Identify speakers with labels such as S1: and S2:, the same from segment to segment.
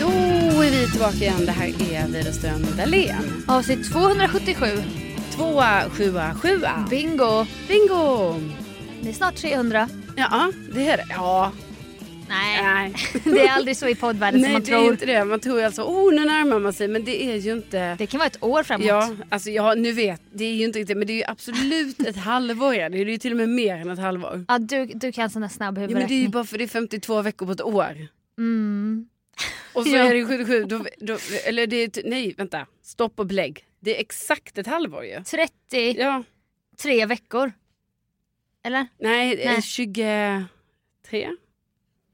S1: Då är vi tillbaka igen. Det här är Widerström Dahlén.
S2: Avsnitt 277.
S1: Tvåa, sjua, sjua.
S2: Bingo!
S1: Bingo!
S2: Det är snart 300.
S1: Ja, det är det. Ja.
S2: Nej,
S1: Nej.
S2: det Äh, är aldrig så i poddvärlden som
S1: Nej,
S2: man
S1: det är
S2: tror.
S1: inte det. Man tror ju alltså, oh nu närmar man sig. Men det är ju inte...
S2: Det kan vara ett år framåt.
S1: Ja, alltså ja, nu vet, det är ju inte riktigt, men det är ju absolut ett halvår. Ja. Det är ju till och med mer än ett halvår.
S2: Ja, du, du kan såna snabb
S1: Ja, men det är
S2: huvudräkning.
S1: ju bara för det är 52 veckor på ett år.
S2: mm.
S1: Och så
S2: Ja.
S1: är det 77, då, då, eller det är, ty- nej vänta, stopp och belägg. Det är exakt ett halvår ju.
S2: 33
S1: Ja,
S2: veckor. Eller?
S1: nej, det är
S2: Nej. eh,
S1: 23. 23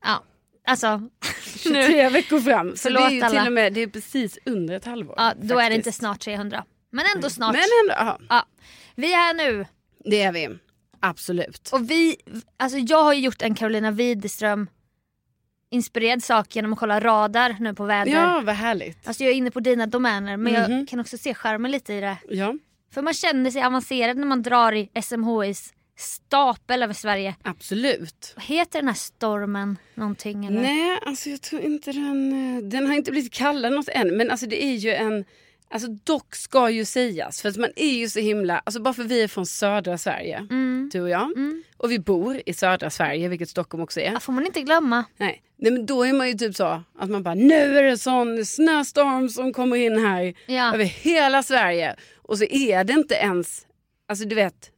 S2: Ja, alltså. nu.
S1: veckor fram. Så
S2: Förlåt
S1: det är ju till
S2: alla.
S1: och med, det är precis under ett halvår.
S2: Ja, då är det
S1: faktiskt. Mm.
S2: inte snart 300. Men ändå snart.
S1: Men ändå, ja,
S2: Ja. Vi är här nu.
S1: det är vi. Absolut.
S2: Och vi, alltså jag har ju gjort en Carolina Widerström inspirerad sak genom att kolla radar nu på väder.
S1: Ja, vad härligt.
S2: Alltså jag är inne på dina domäner men
S1: Mhm.
S2: jag kan också se skärmen lite i det.
S1: Ja,
S2: För man känner sig avancerad när man drar i SMHIs stapel över Sverige.
S1: absolut.
S2: Heter den här stormen någonting eller?
S1: Nej, alltså jag tror inte den... eh, Den har inte blivit kallad något än. Men alltså det är ju en... Alltså dock ska ju sägas, för att man är ju så himla... Alltså bara för vi är från södra Sverige,
S2: Mm.
S1: du och jag.
S2: Mm.
S1: Och vi bor i södra Sverige, vilket Stockholm också är.
S2: Ja, får man inte glömma.
S1: Nej. Nej, men då är man ju typ så att man bara nu är det sån snöstorm som kommer in här
S2: Ja.
S1: över hela Sverige. Och så är det inte ens, alltså du vet,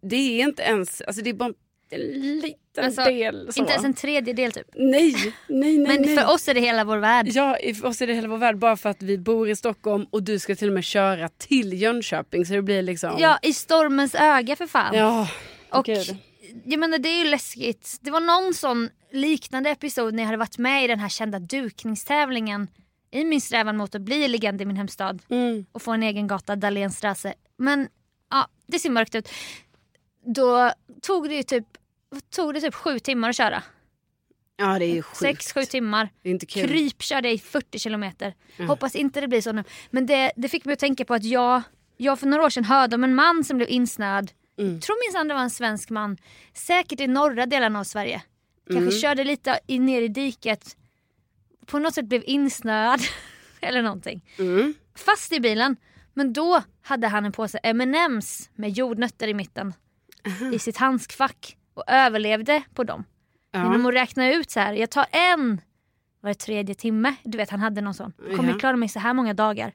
S1: det är inte ens, alltså det är bara en liten
S2: Alltså,
S1: del. Så.
S2: Inte ens en tredjedel typ.
S1: Nej, nej, nej.
S2: Men
S1: nej.
S2: för oss är det hela vår värld.
S1: Ja, i- för oss är det hela vår värld bara för att vi bor i Stockholm och du ska till och med köra till Jönköping så det blir liksom...
S2: Ja, i stormens öga för fan.
S1: ja.
S2: Och
S1: gud.
S2: jag menar det är ju läskigt. Det var någon sån liknande episod när jag hade varit med i den här kända dukningstävlingen i min strävan mot att bli legend i min hemstad
S1: Mm.
S2: och få en egen gata, Dahlénstrasse. Men ja, det ser mörkt ut. Då tog det ju typ, tog det typ sju timmar att köra.
S1: ja, det är ju sjukt.
S2: Sex, sju timmar.
S1: Det är inte kul. Mm.
S2: Kryp körde jag i 40 kilometer.
S1: Ja.
S2: Hoppas inte det blir så nu. Men det, det fick mig att tänka på att jag, jag för några år sedan hörde om en man som blev insnöad.
S1: Mm.
S2: Tror minsann det var en svensk man. Säkert i norra delarna av Sverige. Kanske
S1: Mm.
S2: körde lite i, ner i diket. På något sätt blev insnöad. Eller någonting.
S1: Mm.
S2: Fast i bilen. Men då hade han en påse M&M's med jordnötter i mitten. I sitt handskfack. Och överlevde på dem. Genom
S1: Ja.
S2: att räkna ut så här, jag tar en var tredje timme. Du vet han hade någon sån. Kommer
S1: Ja.
S2: jag klara mig så här många dagar?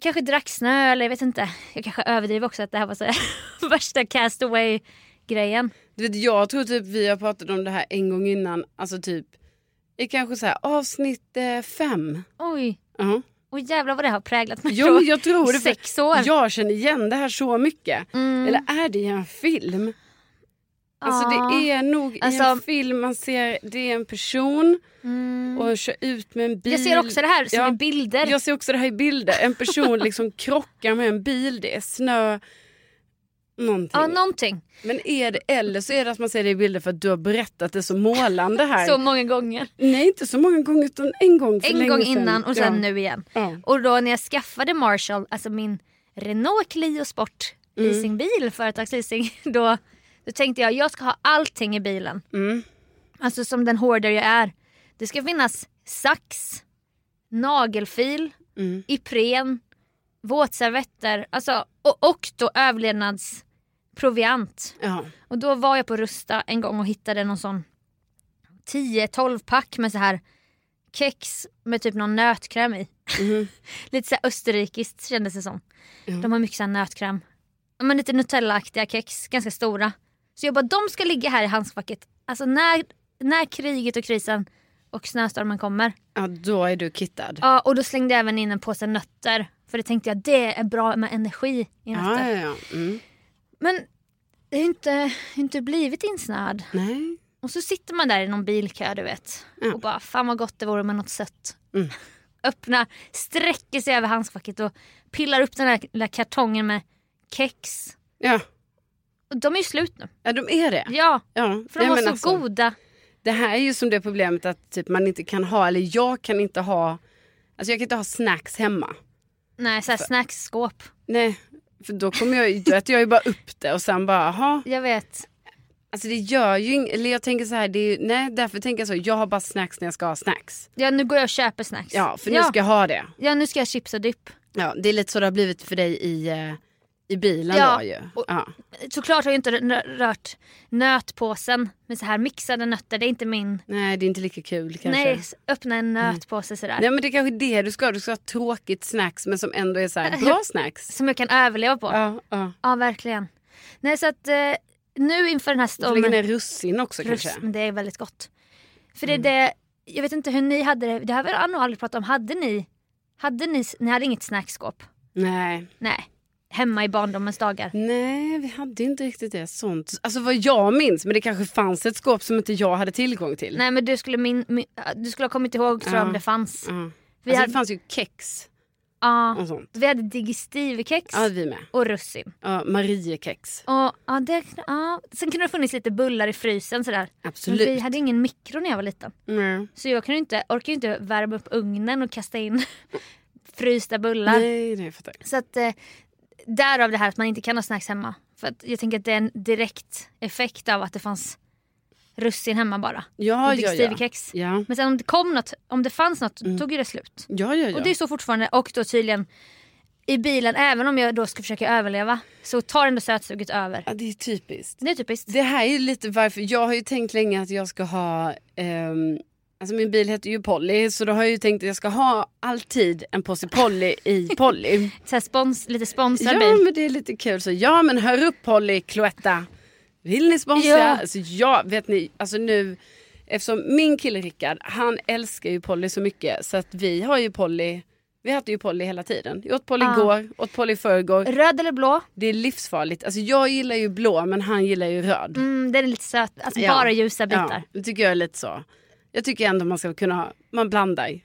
S2: Kanske drack snö eller jag vet inte. Jag kanske överdriver också att det här var så här, värsta castaway grejen.
S1: Du vet, jag tror typ vi har pratat om det här en gång innan, alltså typ i kanske så här avsnitt eh, fem.
S2: Oj,
S1: Ja.
S2: och jävlar vad det har präglat mig.
S1: Jo,
S2: då.
S1: men jag tror
S2: I
S1: det.
S2: sex år.
S1: Jag känner igen det här så mycket.
S2: Mm.
S1: Eller är det i en film? Alltså
S2: ah.
S1: det är nog i en
S2: Alltså- Mm.
S1: film man ser, det är en person och kör ut med en bil.
S2: Jag ser också det här som
S1: Ja.
S2: i bilder.
S1: Jag ser också det här i bilder. En person liksom krockar med en bil, det är snö, någonting.
S2: Ja, någonting.
S1: Men är det, eller så är det att man ser det i bilder för att du har berättat det så målande här.
S2: Så många gånger.
S1: Nej inte så många gånger utan en gång för
S2: En
S1: länge
S2: gång
S1: sedan.
S2: innan och sen
S1: Ja.
S2: nu igen.
S1: Ja.
S2: Och då när jag skaffade Marshall, alltså min Renault Clio Sport
S1: Mm.
S2: leasingbil, företagsleasing, då, då tänkte jag jag ska ha allting i bilen.
S1: Mm.
S2: Alltså som den hoarder jag är. Det ska finnas sax, nagelfil,
S1: Mm.
S2: Ipren, våtservetter alltså, och, och då överlevnadsproviant.
S1: Ja.
S2: Och då var jag på Rusta en gång och hittade någon sån 10-12 pack med så här kex med typ någon nötkräm i.
S1: Mhm.
S2: lite så här österrikiskt kändes det som. De har mycket så här nötkräm. Ja, Men lite Nutella-aktiga kex, ganska stora. Så jag bara, de ska ligga här i handskfacket. Alltså när, när kriget och krisen och snöstormen kommer.
S1: ja, då är du kittad.
S2: Ja, och då slängde jag även in en påse nötter. För det tänkte jag, det är bra med energi i nötter.
S1: Ja, ja, ja. Mm.
S2: Men det har ju inte, inte blivit insnöad.
S1: Nej.
S2: Och så sitter man där i någon bilkö du vet. Och bara fan vad gott det vore med något sött.
S1: Mm.
S2: Öppnar, sträcker sig över handskfacket och pillar upp den där lilla kartongen med kex.
S1: Ja.
S2: Och de är ju slut nu.
S1: ja, de är det.
S2: Ja,
S1: Ja.
S2: för de
S1: Nej,
S2: var
S1: men
S2: så
S1: alltså,
S2: goda.
S1: Det här är ju som det problemet att typ, man inte kan ha, eller jag kan inte ha, alltså jag kan inte ha snacks hemma.
S2: Nej, så här snacksskåp.
S1: Nej, för då kommer jag, då äter jag ju bara upp det och sen bara, aha.
S2: Jag vet.
S1: Alltså det gör ju ing- eller jag tänker så här, det är ju, nej därför tänker jag så, jag har bara snacks när jag ska ha snacks.
S2: Ja, nu går jag och köper snacks.
S1: Ja, för
S2: ja.
S1: nu ska jag ha det.
S2: ja, nu ska jag ha chips och dipp.
S1: Ja, det är lite så det har blivit för dig i, eh, i bilen
S2: Ja,
S1: då ju.
S2: och-
S1: Ja.
S2: Såklart har jag inte rö- rört nötpåsen med så här mixade nötter. Det är inte min.
S1: Nej, det är inte lika kul kanske. Mm.
S2: Nej, s- öppna en nötpåse sådär.
S1: Nej men det är kanske är det du ska ha. Du ska ha tråkigt snacks men som ändå är så här bra snacks.
S2: Som jag kan överleva på.
S1: Ja, ja.
S2: Ja, verkligen. Nej, så att eh, nu inför den här
S1: Du får lägga
S2: stormen...
S1: ner russin också
S2: Rus-
S1: kanske. Mm.
S2: men det är väldigt gott. För det, är det, jag vet inte hur ni hade det, det har vi nog aldrig pratat om. Hade ni, hade ni, ni hade inget snackskåp?
S1: Nej.
S2: Nej. Hemma i barndomens dagar.
S1: Nej, vi hade inte riktigt det. Sånt. Alltså vad jag minns, men det kanske fanns ett skåp som inte jag hade tillgång till.
S2: Nej men du skulle, min, min, du skulle ha kommit ihåg tror jag om det fanns.
S1: Ja.
S2: Vi,
S1: alltså,
S2: hade,
S1: Det fanns ju kex
S2: ja,
S1: och sånt.
S2: vi hade digestivkex
S1: Ja, vi med.
S2: och russin.
S1: Ja, Mariekex.
S2: Och, ja, det, ja. Sen kunde det ha funnits lite bullar i frysen sådär.
S1: Absolut.
S2: Men vi hade ingen mikro när jag var liten.
S1: Mm.
S2: Så jag kunde inte, orkar ju inte värma upp ugnen och kasta in frysta bullar.
S1: Nej, det fattar jag.
S2: Så att eh, därav det här att man inte kan ha snacks hemma. För att jag tänker att det är en direkt effekt av att det fanns russin hemma bara.
S1: Ja,
S2: och
S1: ja, ja.
S2: digestivekex.
S1: Ja,
S2: Men sen om det kom något, om det fanns något, tog ju det slut.
S1: ja, ja. ja.
S2: Och det är så fortfarande. Och då tydligen i bilen, även om jag då ska försöka överleva, så tar ändå sötsuget över.
S1: ja, det är typiskt.
S2: Det är typiskt.
S1: Det här är ju lite varför, jag har ju tänkt länge att jag ska ha, ehm, alltså min bil heter ju Polly så då har jag ju tänkt att jag ska ha alltid en påse Polly i Polly.
S2: Så här spons, lite sponsrad
S1: ja
S2: bil.
S1: men det är lite kul så, ja men hör upp Polly, Cloetta, vill ni sponsra?
S2: Ja.
S1: Alltså ja, vet ni, alltså nu, eftersom min kille Rickard, han älskar ju Polly så mycket så att vi har ju Polly, vi hade ju Polly hela tiden. Jag åt Polly
S2: Ah.
S1: igår, åt Polly i förrgår.
S2: Röd eller blå?
S1: Det är livsfarligt. Alltså jag gillar ju blå men han gillar ju röd.
S2: Mm, den är lite söt. Alltså
S1: Ja.
S2: bara ljusa bitar.
S1: Ja, det tycker jag är lite så. Jag tycker ändå man ska kunna ha, man blandar.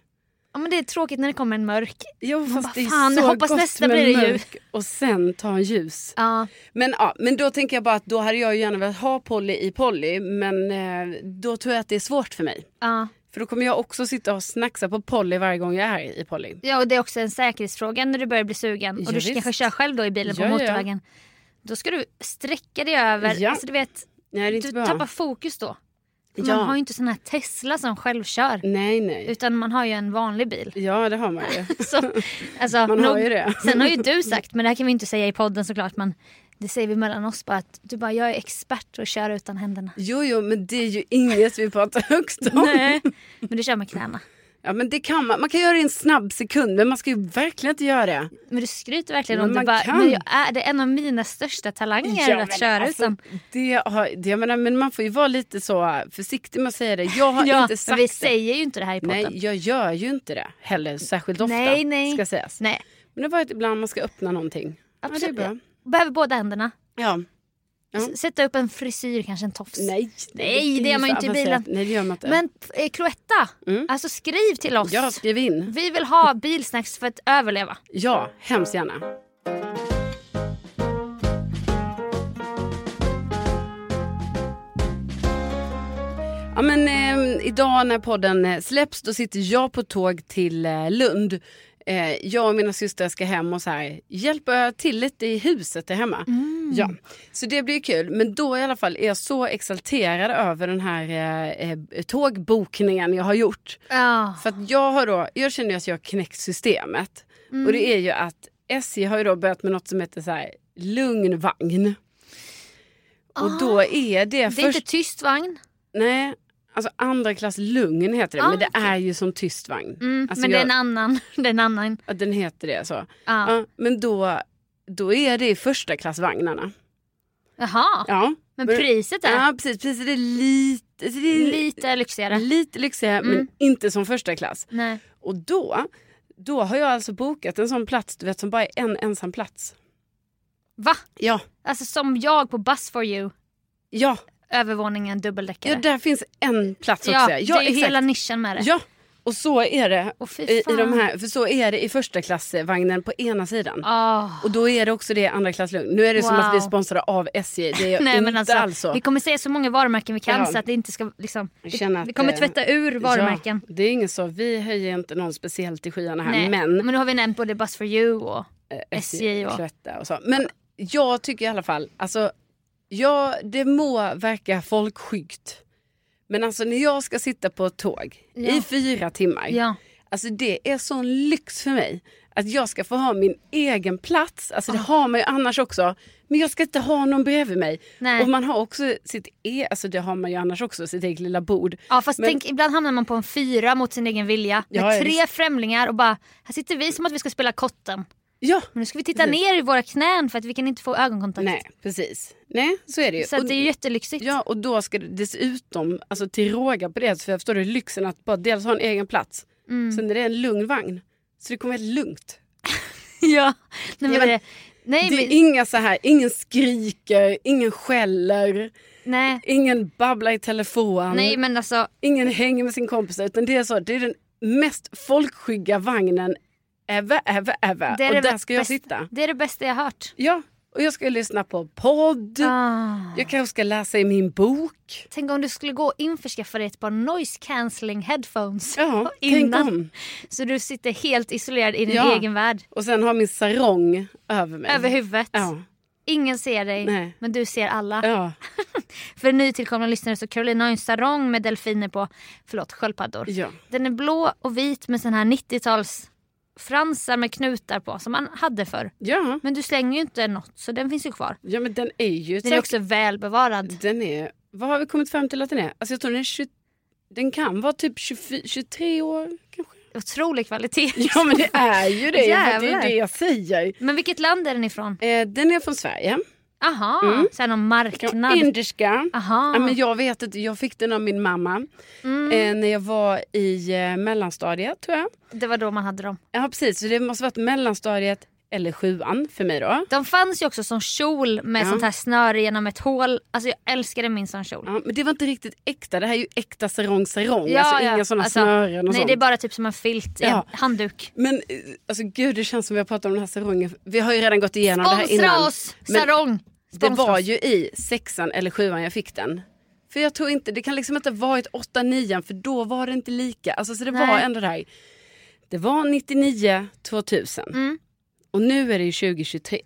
S2: Ja, men det är tråkigt när det kommer en mörk.
S1: Jo fast
S2: bara,
S1: det är
S2: "Fan,
S1: så
S2: jag hoppas
S1: gott
S2: nästa
S1: med
S2: blir det ljus."
S1: mörk och sen ta en ljus.
S2: Ja.
S1: Men, ja, men då tänker jag bara att då hade jag ju gärna velat ha Polly i Polly men eh, då tror jag att det är svårt för mig.
S2: Ja.
S1: För då kommer jag också sitta och snacksa på Polly varje gång jag är i Polly.
S2: ja, och det är också en säkerhetsfråga när du börjar bli sugen.
S1: Ja,
S2: och du
S1: visst.
S2: kanske kör själv då i bilen
S1: Ja,
S2: på
S1: ja.
S2: motorvägen. Då ska du sträcka dig över.
S1: Ja.
S2: Alltså, du vet,
S1: Nej det är
S2: du
S1: inte bra.
S2: tappar fokus då. För
S1: Ja.
S2: Man har ju inte sån här Tesla som självkör.
S1: Nej nej.
S2: Utan man har ju en vanlig bil.
S1: Ja det har man ju.
S2: Så, alltså,
S1: Man har ju det.
S2: Sen har ju du sagt, men det här kan vi inte säga i podden såklart. Men det säger vi mellan oss bara att du bara, jag är expert och kör utan händerna.
S1: Jo jo men det är ju inget vi pratar högst om.
S2: Nej. Men du kör med knäna.
S1: Ja men det kan man, man kan göra det i en snabb sekund men man ska ju verkligen inte göra det.
S2: Men du skryter verkligen
S1: Men
S2: om det.
S1: man
S2: Bara,
S1: kan.
S2: men jag är, det är en av mina största talanger
S1: Ja, men
S2: att köra
S1: alltså,
S2: utan.
S1: Det har, det, jag menar, men man får ju vara lite så försiktig med att säga det. Jag har
S2: Ja,
S1: inte
S2: men
S1: sagt
S2: vi
S1: det.
S2: säger ju inte det här i podden.
S1: Nej, jag gör ju inte det heller särskilt ofta.
S2: Nej, nej.
S1: Ska sägas.
S2: Nej,
S1: Men det var ett ibland man ska öppna någonting. Ja,
S2: absolut.
S1: det är bra.
S2: Behöver båda händerna.
S1: Ja. Ja.
S2: S- Sätta upp en frisyr, kanske en tofs.
S1: Mm. Nej,
S2: Nej, det gör man ju inte i bilen.
S1: Nej, det gör man inte.
S2: Men eh, Cloetta,
S1: Mm.
S2: alltså skriv till oss.
S1: Jag skrev in.
S2: Vi vill ha bilsnacks för att överleva.
S1: Ja, hemskt gärna. Ja, men, eh, idag när podden eh, släpps då sitter jag på tåg till eh, Lund. Eh, jag och mina systrar ska hem och så här, hjälpa till lite i huset där hemma. Ja, så det blir kul. Men då i alla fall är jag så exalterad över den här eh, eh, tågbokningen jag har gjort.
S2: Ja.
S1: För att jag har då, jag känner ju att jag har knäckt systemet. Och det är ju att SJ har ju då börjat med något som heter så här lugn vagn. Och då är det,
S2: Ah. Det är
S1: först,
S2: inte tyst vagn,
S1: nej, alltså andra klass lugn heter det.
S2: Ah,
S1: men det
S2: okej.
S1: är ju som tyst vagn.
S2: mm,
S1: Alltså
S2: men det är
S1: jag-
S2: en annan. Det är en annan.
S1: Ja, den heter det så.
S2: Ja.
S1: Ja, men då, då är det i första klassvagnarna.
S2: Jaha,
S1: Ja,
S2: men
S1: men-
S2: priset är
S1: ja precis, precis. Det är lite, det är
S2: lite lyxigare.
S1: lite lyxigare men
S2: Mm.
S1: inte som första klass.
S2: Nej.
S1: Och då, då har jag alltså bokat en sån plats du vet, som bara är en ensam plats.
S2: Va?
S1: Ja,
S2: Alltså som jag på Buzz for you,
S1: ja,
S2: övervåningen dubbeldäckare.
S1: ja där finns en plats också.
S2: Ja, det är ju
S1: exakt.
S2: hela nischen med det.
S1: Ja, och så är det
S2: Åh, fy
S1: i, i
S2: fan.
S1: de här, för så är det i första klassvagnen på ena sidan.
S2: Ah.
S1: Och då är det också det andra klass lugn. Nu är det som att vi är
S2: Wow.
S1: sponsrade av SJ, det är jag
S2: Nej,
S1: inte
S2: men alltså,
S1: alls så.
S2: Vi kommer säga så många varumärken vi kan
S1: Ja.
S2: så att det inte ska liksom,
S1: Jag känner
S2: vi,
S1: att,
S2: vi kommer
S1: eh,
S2: tvätta ur varumärken.
S1: Ja, det är inget så, vi höjer inte någon speciellt till skyarna här
S2: Nej.
S1: men Eh,
S2: nu har vi nämnt både Buzz for you och SJ och-
S1: Cloetta och så. Men jag tycker i alla fall, alltså, ja, det må verka folkskyggt. Men alltså när jag ska sitta på ett tåg
S2: Ja.
S1: i fyra timmar,
S2: ja.
S1: alltså det är sån lyx för mig. Att jag ska få ha min egen plats, alltså
S2: Ah.
S1: det har man ju annars också. Men jag ska inte ha någon bredvid mig.
S2: Nej.
S1: Och man har också sitt e, alltså det har man ju annars också, sitt eget lilla bord.
S2: Ja fast
S1: Men-
S2: tänk, ibland hamnar man på en fyra mot sin egen vilja med
S1: Ja, ja,
S2: tre främlingar och bara här sitter vi som att vi ska spela kotten.
S1: Ja,
S2: Men nu ska vi titta
S1: Precis.
S2: ner i våra knän för att vi kan inte få ögonkontakt.
S1: nej precis. Nej, så är det ju.
S2: Så att
S1: Och-
S2: det är ju jättelyxigt.
S1: Ja, och då ska det dessutom, alltså till råga på det, för jag förstår det, lyxen att bara dels ha en egen plats,
S2: Mm.
S1: sen är det en lugn vagn. Så det kommer helt lugnt.
S2: Ja. Nej, men
S1: Ja, men
S2: det, nej,
S1: det är
S2: men,
S1: inga så här, ingen skriker, ingen skäller,
S2: nej.
S1: ingen babblar i telefon,
S2: nej men alltså
S1: ingen hänger med sin kompis. Utan det är så, det är den mest folkskygga vagnen ever, ever, ever.
S2: det är,
S1: och
S2: det,
S1: där ska jag
S2: bästa,
S1: sitta.
S2: det är det bästa jag har hört.
S1: Ja, och jag ska lyssna på podd,
S2: Ah.
S1: jag kanske ska läsa i min bok.
S2: Tänk om du skulle gå och införskaffa dig ett par noise cancelling headphones.
S1: Ja,
S2: Innan.
S1: tänk om.
S2: Så du sitter helt isolerad i din
S1: Ja.
S2: egen värld.
S1: Och sen har min sarong över mig.
S2: Över huvudet.
S1: Ja.
S2: Ingen ser dig,
S1: Nej.
S2: men du ser alla.
S1: Ja.
S2: För nytillkomna lyssnare så Caroline har ju en sarong med delfiner på. Förlåt, sköldpaddor.
S1: ja.
S2: Den är blå och vit med sån här 90-tals fransar med knutar på som man hade förr.
S1: Ja.
S2: Men du slänger ju inte något så den finns ju kvar.
S1: ja, men den är ju...
S2: Den är också välbevarad.
S1: den är... Vad har vi kommit fram till att den är? Alltså jag tror den är 20... Den kan vara typ 24, 23 år kanske.
S2: Otrolig kvalitet.
S1: Ja men det är ju det. för Det är
S2: Jävlar.
S1: ju det jag säger.
S2: Men vilket land är den ifrån?
S1: Eh, den är från Sverige.
S2: Aha, så här någon marknad.
S1: Indiska.
S2: Aha.
S1: Mm. Ja, men jag vet att jag fick den av min mamma eh, när jag var i eh, mellanstadiet tror jag.
S2: Det var då man hade dem.
S1: Ja precis, så det måste varit mellanstadiet eller sjuan för mig då.
S2: De fanns ju också som kjol med
S1: Ja.
S2: sånt här snöre genom ett hål. Alltså jag älskade min sån kjol.
S1: Ja, men det var inte riktigt äkta, det här är ju äkta sarong sarong.
S2: Ja,
S1: alltså
S2: ja.
S1: inga sådana
S2: Alltså,
S1: snören och
S2: Nej
S1: sånt.
S2: det är bara typ som en filt, i en
S1: Ja.
S2: handduk.
S1: Men eh, alltså gud det känns som vi har pratat om den här sarongen. Vi har ju redan gått igenom det här innan.
S2: Sponsra oss!
S1: Men
S2: Sarong!
S1: Det
S2: Sponsra
S1: var
S2: oss.
S1: ju i sexan eller sjuan jag fick den. För jag tror inte, det kan liksom inte ha varit åtta, nian för då var det inte lika. Alltså så det var
S2: Nej.
S1: ändå det här. Det var 99, 2000.
S2: Mm.
S1: Och nu är det ju 2023.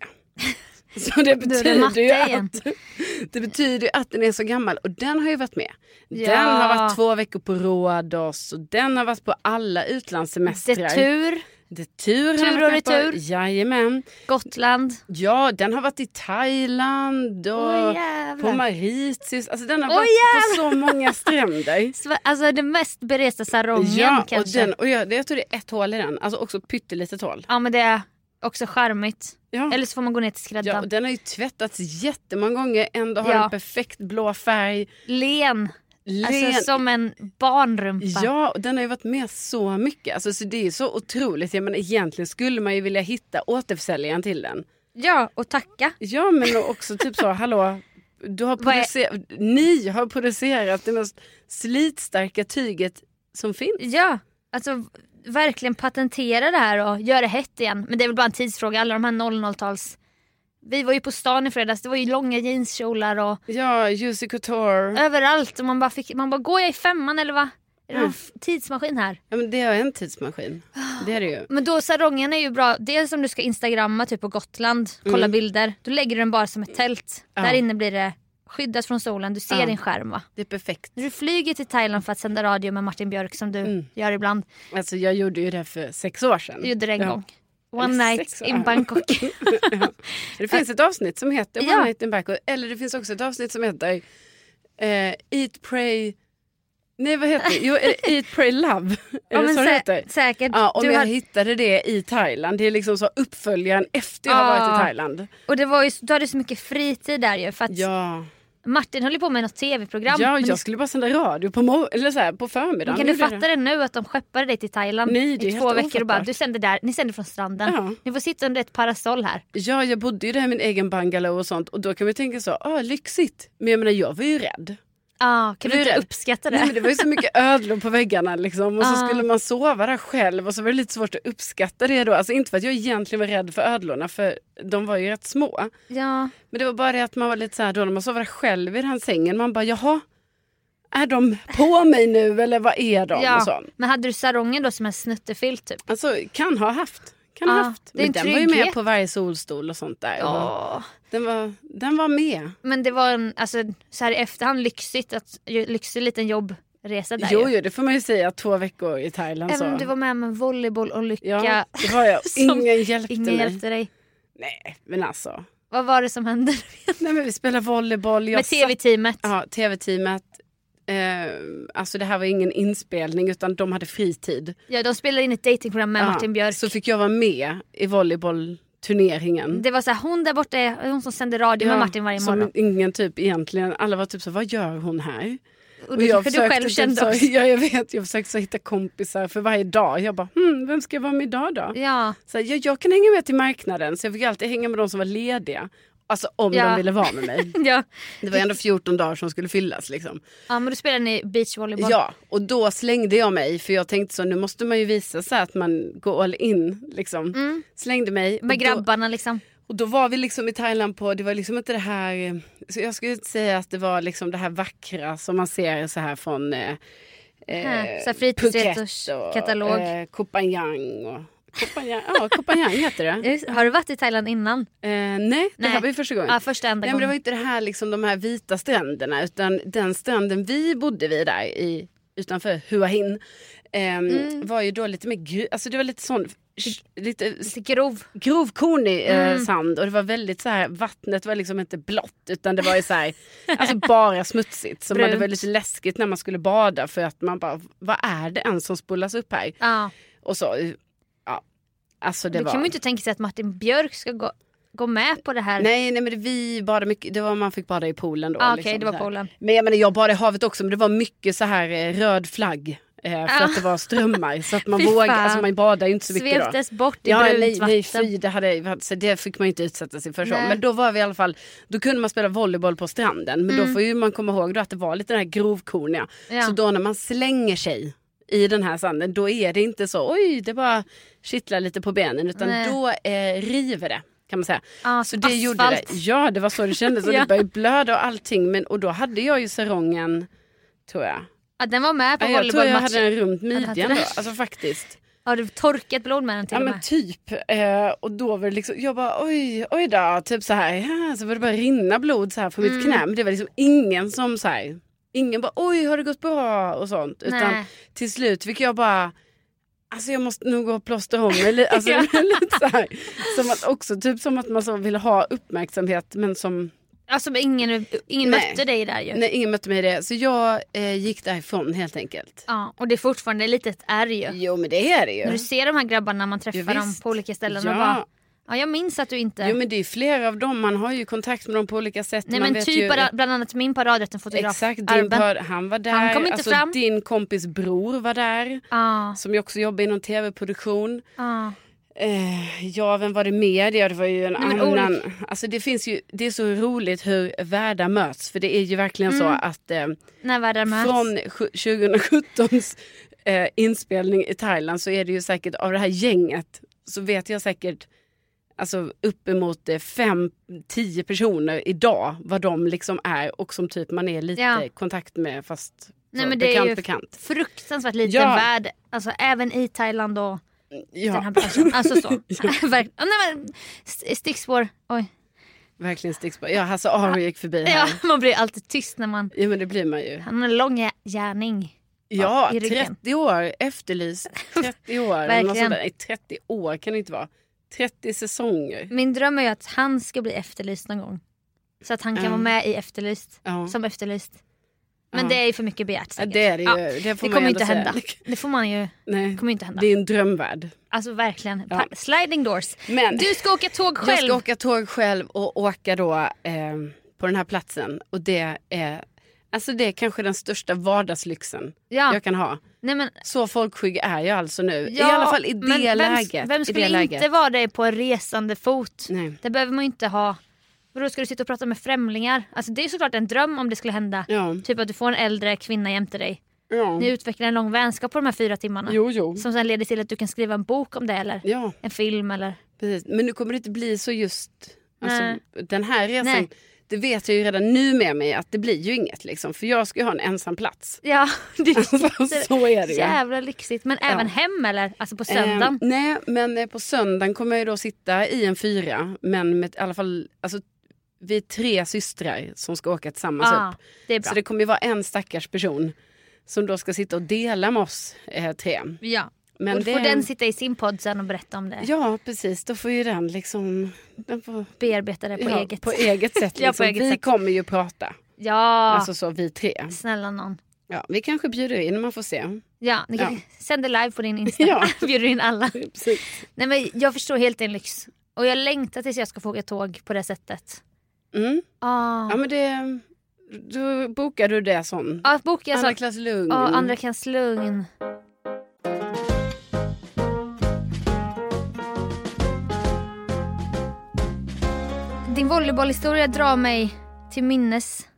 S1: Så det
S2: Nu är det matte
S1: betyder, ju
S2: igen.
S1: att, det betyder ju att den är så gammal och den har ju varit med. Den har varit två veckor på Rhodos och den har varit på alla utlandssemestrar.
S2: Det är tur,
S1: Det är tur.
S2: Tur
S1: han har
S2: och
S1: varit med på.
S2: retur.
S1: Jajamän.
S2: Gotland.
S1: Ja, den har varit i Thailand och
S2: Åh
S1: på
S2: jävlar.
S1: Mauritius. Alltså den har
S2: Åh,
S1: varit på så många stränder.
S2: Sve- Alltså den mest beresta sarongen
S1: ja, och,
S2: kanske.
S1: den, och jag, jag tror det är ett hål i den. Alltså också pyttelitet hål.
S2: Ja men det är också charmigt.
S1: Ja.
S2: Eller så får man gå ner till
S1: Ja, och
S2: skräddaren.
S1: den har ju tvättats jättemånga gånger, ändå har
S2: Ja.
S1: den perfekt blå färg.
S2: Len.
S1: Len.
S2: Alltså som en barnrumpa.
S1: Ja, och den har ju varit med så mycket. Alltså, så det är ju så otroligt. Jag menar, egentligen skulle man ju vilja hitta återförsäljaren till den.
S2: ja och tacka.
S1: Ja, men också typ så, hallå, du har
S2: Vad är-
S1: producerat, ni har producerat det mest slitstarka tyget som finns.
S2: Ja, alltså verkligen patentera det här och göra det hett igen. Men det är väl bara en tidsfråga, alla de här 00-tals... Vi var ju på stan i fredags, det var ju långa jeanskjolar och
S1: Ja, Jussi Couture.
S2: överallt och man bara fick, man bara går jag i femman eller va? Är det någon f- tidsmaskin här?
S1: Ja, men det är en tidsmaskin. Det är det ju.
S2: Men då sarongen är ju bra, dels om du ska instagramma typ på Gotland, kolla bilder, då lägger du den bara som ett tält. Där inne blir det skyddat från solen, du ser din skärm va?
S1: Det är perfekt.
S2: När du flyger till Thailand för att sända radio med Martin Björk som du
S1: Mm.
S2: gör ibland,
S1: Alltså jag gjorde ju det här för sex år sedan.
S2: du gjorde det en
S1: Ja.
S2: gång. One
S1: Eller
S2: night
S1: sex år.
S2: in Bangkok.
S1: Det finns ett avsnitt som heter One
S2: Ja.
S1: Night in Bangkok. Eller det finns också ett avsnitt som heter eh, Eat, Pray... Nej vad heter det? Jo, eh, Eat, Pray, Love. Är det
S2: men
S1: så det
S2: sä-
S1: heter?
S2: Säkert.
S1: Ja, om
S2: du
S1: jag
S2: hade-
S1: hittade det i Thailand. Det är liksom så uppföljaren efter jag har
S2: Ja.
S1: varit i Thailand.
S2: Och det var ju, du hade så mycket fritid där ju för att
S1: Ja,
S2: Martin höll ju på med något tv-program.
S1: ja
S2: men
S1: jag skulle bara sända radio på, mor- eller så här, på förmiddagen.
S2: kan du
S1: gjorde jag
S2: fatta det nu att de skeppade dig till Thailand
S1: Nej, det är
S2: i två
S1: helt
S2: veckor och bara
S1: ofattbart.
S2: du sänder där, ni sänder från stranden.
S1: Ja.
S2: Ni får sitta under ett parasoll här.
S1: Ja, jag bodde ju där i min egen bungalow och sånt och då kan man ju tänka så, ah, lyxigt. Men jag menar jag var ju rädd.
S2: Ja, kan
S1: Det
S2: du
S1: är
S2: inte
S1: det.
S2: uppskatta det?
S1: Nej, men det var ju så mycket ödlor på väggarna liksom. och så
S2: Ah.
S1: skulle man sova där själv och så var det lite svårt att uppskatta det då. Alltså inte för att jag egentligen var rädd för ödlorna för de var ju rätt små.
S2: Ja.
S1: Men det var bara det att man var lite så här då när man sov där själv i den här sängen, man bara jaha, är de på mig nu eller vad är de? Och
S2: ja.
S1: så.
S2: Men hade du sarongen då som en snuttefilt typ?
S1: Alltså kan ha haft. Kan
S2: Ah,
S1: ha haft.
S2: det
S1: Men
S2: är en
S1: den var ju med
S2: trygghet.
S1: på varje solstol och sånt där. Och
S2: Ja.
S1: Den, var, den var med.
S2: Men det var en, alltså, så här i efterhand lyxigt, att, lyxig liten jobbresa där
S1: Jo,
S2: ju.
S1: jo, det får man ju säga. Två veckor i Thailand.
S2: Även
S1: Så.
S2: om du var med om en volleybollolycka.
S1: Ja, det var jag.
S2: som
S1: Ingen hjälpte
S2: ingen
S1: mig.
S2: hjälpte dig.
S1: Nej, men alltså.
S2: Vad var det som hände?
S1: Nej, men vi spelade volleyboll. Jag
S2: Med tv-teamet.
S1: satt- Ja, tv-teamet. Eh, alltså det här var ingen inspelning utan de hade fritid.
S2: Ja, de spelade in ett datingprogram med
S1: Ja,
S2: Martin Björk.
S1: Så fick jag vara med i volleybollturneringen.
S2: Det var så här, hon där borta är hon som sänder radio med
S1: Ja,
S2: Martin varje
S1: som
S2: morgon.
S1: ingen typ egentligen, alla var typ så vad gör hon här?
S2: Och det kanske du själv
S1: typ
S2: kände
S1: så,
S2: också.
S1: Ja jag vet, jag försökte så hitta kompisar för varje dag. Jag bara, hmm, vem ska jag vara med idag då?
S2: Ja,
S1: Så här, jag, jag kan hänga med till marknaden så jag fick alltid hänga med de som var lediga. Alltså om
S2: Ja.
S1: de ville vara med mig.
S2: ja.
S1: Det var ändå 14 dagar som skulle fyllas liksom.
S2: ja, men då spelade ni beachvolleyboll.
S1: Ja, och då slängde jag mig för jag tänkte så nu måste man ju visa så här att man går all in liksom. Slängde mig. och
S2: Mm. Med
S1: då-
S2: grabbarna liksom.
S1: Och då var vi liksom i Thailand på, det var liksom inte det här, så jag skulle inte säga att det var liksom det här vackra som man ser så här från eh,
S2: Här,
S1: eh,
S2: Mm, så här fritidsretors- katalog.
S1: eh, Koh Phangan och Koh Phangan, ja Koh Phangan heter det.
S2: Just- Har du varit i Thailand innan?
S1: Eh, nej, det
S2: Nej.
S1: här var ju första gången.
S2: Ja, första enda
S1: nej, men det
S2: gången.
S1: var ju inte det här, liksom, de här vita stränderna utan den stranden vi bodde vid där i, utanför Hua Hin ehm, var ju då lite mer gru- alltså det var lite sån lite
S2: Mm. Lite Mm. grov.
S1: grovkornig eh, sand och det var väldigt så här, vattnet var liksom inte blått utan det var ju så här, alltså bara smutsigt. Så man, det var
S2: Brunt.
S1: lite läskigt när man skulle bada för att man bara, vad är det ens som spolas upp här?
S2: Ja.
S1: Och så, eh, ja. Alltså det
S2: Då
S1: var...
S2: kan man ju inte tänka sig att Martin Björk ska gå, gå med på det här.
S1: Nej, nej men det, vi badade mycket, det var man fick bada i poolen då. liksom,
S2: Ah, okej, det var
S1: så här.
S2: poolen.
S1: Men jag menar jag badade i havet också men det var mycket så här eh, röd flagg. Eh, för
S2: Ah.
S1: att det var strömmar så att man
S2: Fy
S1: vågade,
S2: fan.
S1: alltså man badade ju inte så mycket då.
S2: Sveptes bort i
S1: Ja,
S2: brunt
S1: nej, nej
S2: vatten.
S1: fy, det, hade, så det fick man ju inte utsätta sig för. Så.
S2: Nej.
S1: Men då var vi i alla fall, då kunde man spela volleyboll på stranden. Men då får ju man komma ihåg då att det var lite den här grovkorniga.
S2: Mm. Ja.
S1: Så då när man slänger sig i den här sanden, då är det inte så oj, det bara kittlar lite på benen. Utan
S2: Nej.
S1: då eh, river det. Kan man säga.
S2: Ja,
S1: så
S2: som
S1: det gjorde det.
S2: Ah, asfalt.
S1: Ja, det var så det kändes. Och
S2: Ja.
S1: Det började blöda och allting. Men, och då hade jag ju sarongen, tror jag.
S2: ja, den var med på
S1: Nej, jag tror jag hade
S2: volleybollmatchen.
S1: den runt
S2: hade
S1: midjan
S2: den.
S1: då. Alltså faktiskt.
S2: Har du torkat blod med den till
S1: Ja
S2: och
S1: men
S2: med?
S1: typ. Eh, och då var det liksom, jag bara oj, oj då, typ så här. Ja, så var det bara rinna blod så här från
S2: Mm.
S1: mitt knä. Men det var liksom ingen som så här, ingen bara oj har det gått bra och sånt. Utan
S2: Nej.
S1: till slut fick jag bara, alltså jag måste nog gå och plåstra om mig. li- Alltså,
S2: Ja.
S1: lite så här. Som att också typ som att man så ville ha uppmärksamhet men som,
S2: Alltså men ingen, ingen
S1: Nej.
S2: mötte dig där ju.
S1: nej ingen mötte mig i det. Så jag eh, gick därifrån helt enkelt.
S2: Ja, och det är fortfarande ett litet ärr ju.
S1: Jo men det är det
S2: När du
S1: ju.
S2: ser de här grabbarna man träffar
S1: Ja,
S2: dem
S1: visst.
S2: på olika ställen och
S1: Ja.
S2: bara Ja jag minns att du inte
S1: Jo men det är ju flera av dem, man har ju kontakt med dem på olika sätt.
S2: Nej
S1: man
S2: men
S1: vet
S2: typ
S1: ju-
S2: bara- bland annat min paradrätten-fotograf
S1: Exakt, din
S2: Arben.
S1: par, han var där.
S2: Han kom inte
S1: alltså,
S2: fram.
S1: Din kompis bror var där.
S2: Ja,
S1: Som ju också jobbar inom tv-produktion.
S2: ja.
S1: Eh, ja, vem var det mer? Ja, det var ju en
S2: Nej, men
S1: annan. Alltså det finns ju, det är så roligt hur världar möts. För det är ju verkligen
S2: Mm.
S1: så att eh,
S2: När världar möts.
S1: från sju- 2017s eh, inspelning i Thailand så är det ju säkert av det här gänget så vet jag säkert alltså uppemot 5-10 personer idag vad de liksom är och som typ man är lite
S2: Ja.
S1: i kontakt med fast
S2: Nej,
S1: så,
S2: men det
S1: bekant
S2: är ju
S1: bekant.
S2: fruktansvärt liten
S1: Ja.
S2: värld. Alltså även i Thailand och den
S1: Ja,
S2: här branschen. Alltså så. Verk- Ja, nej, men, st- stickspår. Oj.
S1: verkligen stickspår. Ja, Hasse Aro gick förbi här.
S2: Ja, man blir alltid tyst när man...
S1: Ja men det blir man ju.
S2: Han har en lång gär- gärning.
S1: Ja,
S2: i ryggen.
S1: 30 år efterlyst. 30 år. eller något
S2: Verkligen.
S1: sånt där. Nej, 30 år kan det inte vara. 30 säsonger.
S2: Min dröm är ju att han ska bli efterlyst någon gång. Så att han kan
S1: Ja.
S2: vara med i Efterlyst.
S1: Ja.
S2: Som Efterlyst. Men
S1: Ja.
S2: det är ju för mycket begärt
S1: Ja,
S2: säkert.
S1: det är det ju.
S2: Ja,
S1: Det, får
S2: det
S1: man
S2: kommer ju
S1: ändå
S2: inte
S1: säga.
S2: hända. Det får man ju.
S1: Nej,
S2: kommer ju inte hända.
S1: det är en drömvärld.
S2: Alltså verkligen.
S1: Ja.
S2: Pa- Sliding doors.
S1: Men
S2: Du ska åka tåg själv.
S1: jag ska åka tåg själv och åka då eh, på den här platsen. Och det är, alltså det är kanske den största vardagslyxen
S2: Ja.
S1: jag kan ha.
S2: Nej, men,
S1: Så folkskygg är jag alltså nu.
S2: ja,
S1: I alla fall i det
S2: men vem,
S1: läget.
S2: Vem
S1: i
S2: skulle
S1: det läget.
S2: inte vara det på en resande fot?
S1: Nej.
S2: Det behöver man ju inte ha. Vadå ska du sitta och prata med främlingar? Alltså det är ju såklart en dröm om det skulle hända.
S1: Ja.
S2: Typ att du får en äldre kvinna jämte dig.
S1: Ja.
S2: Ni utvecklar en lång vänskap på de här fyra timmarna.
S1: Jo, jo.
S2: Som sen leder till att du kan skriva en bok om det eller
S1: Ja,
S2: en film eller...
S1: precis. Men nu kommer det inte bli så just alltså,
S2: Nej.
S1: den här resan.
S2: Nej.
S1: Det vet jag ju redan nu med mig att det blir ju inget liksom. För jag ska ju ha en ensam plats.
S2: Ja, det
S1: Alltså, så är det ju.
S2: Jävla lyxigt. Men även hem eller? Alltså på söndagen?
S1: Eh, nej, men eh, på söndagen kommer jag ju då sitta i en fyra, men med i alla fall, alltså, vi är tre systrar som ska åka tillsammans
S2: ah,
S1: upp.
S2: det är bra.
S1: typ. Så det kommer ju vara en stackars person som då ska sitta och dela med oss eh, tre.
S2: Ja.
S1: Men
S2: och då
S1: det-
S2: får den sitta i sin podd sen och berätta om det.
S1: Ja, precis. Då får ju den liksom... Den får,
S2: Bearbeta det på
S1: ja,
S2: eget.
S1: på eget sätt. Liksom.
S2: Ja, på eget
S1: vi
S2: sätt.
S1: kommer ju prata.
S2: Ja,
S1: Alltså så, vi tre.
S2: snälla någon.
S1: Ja, vi kanske bjuder in, man får se.
S2: Ja, ni kan
S1: Ja.
S2: sänder live på din Insta.
S1: Ja.
S2: Bjuder in alla.
S1: Precis.
S2: Nej men jag förstår helt din lyx. Och jag längtar tills jag ska få åka tåg på det sättet.
S1: Mm.
S2: Ah.
S1: Ja, men det... Då bokar du det sån.
S2: Ja, boka
S1: Andra
S2: så.
S1: klass lugn.
S2: Ja, andra klass lugn. Din volleybollhistoria drar mig till minnes.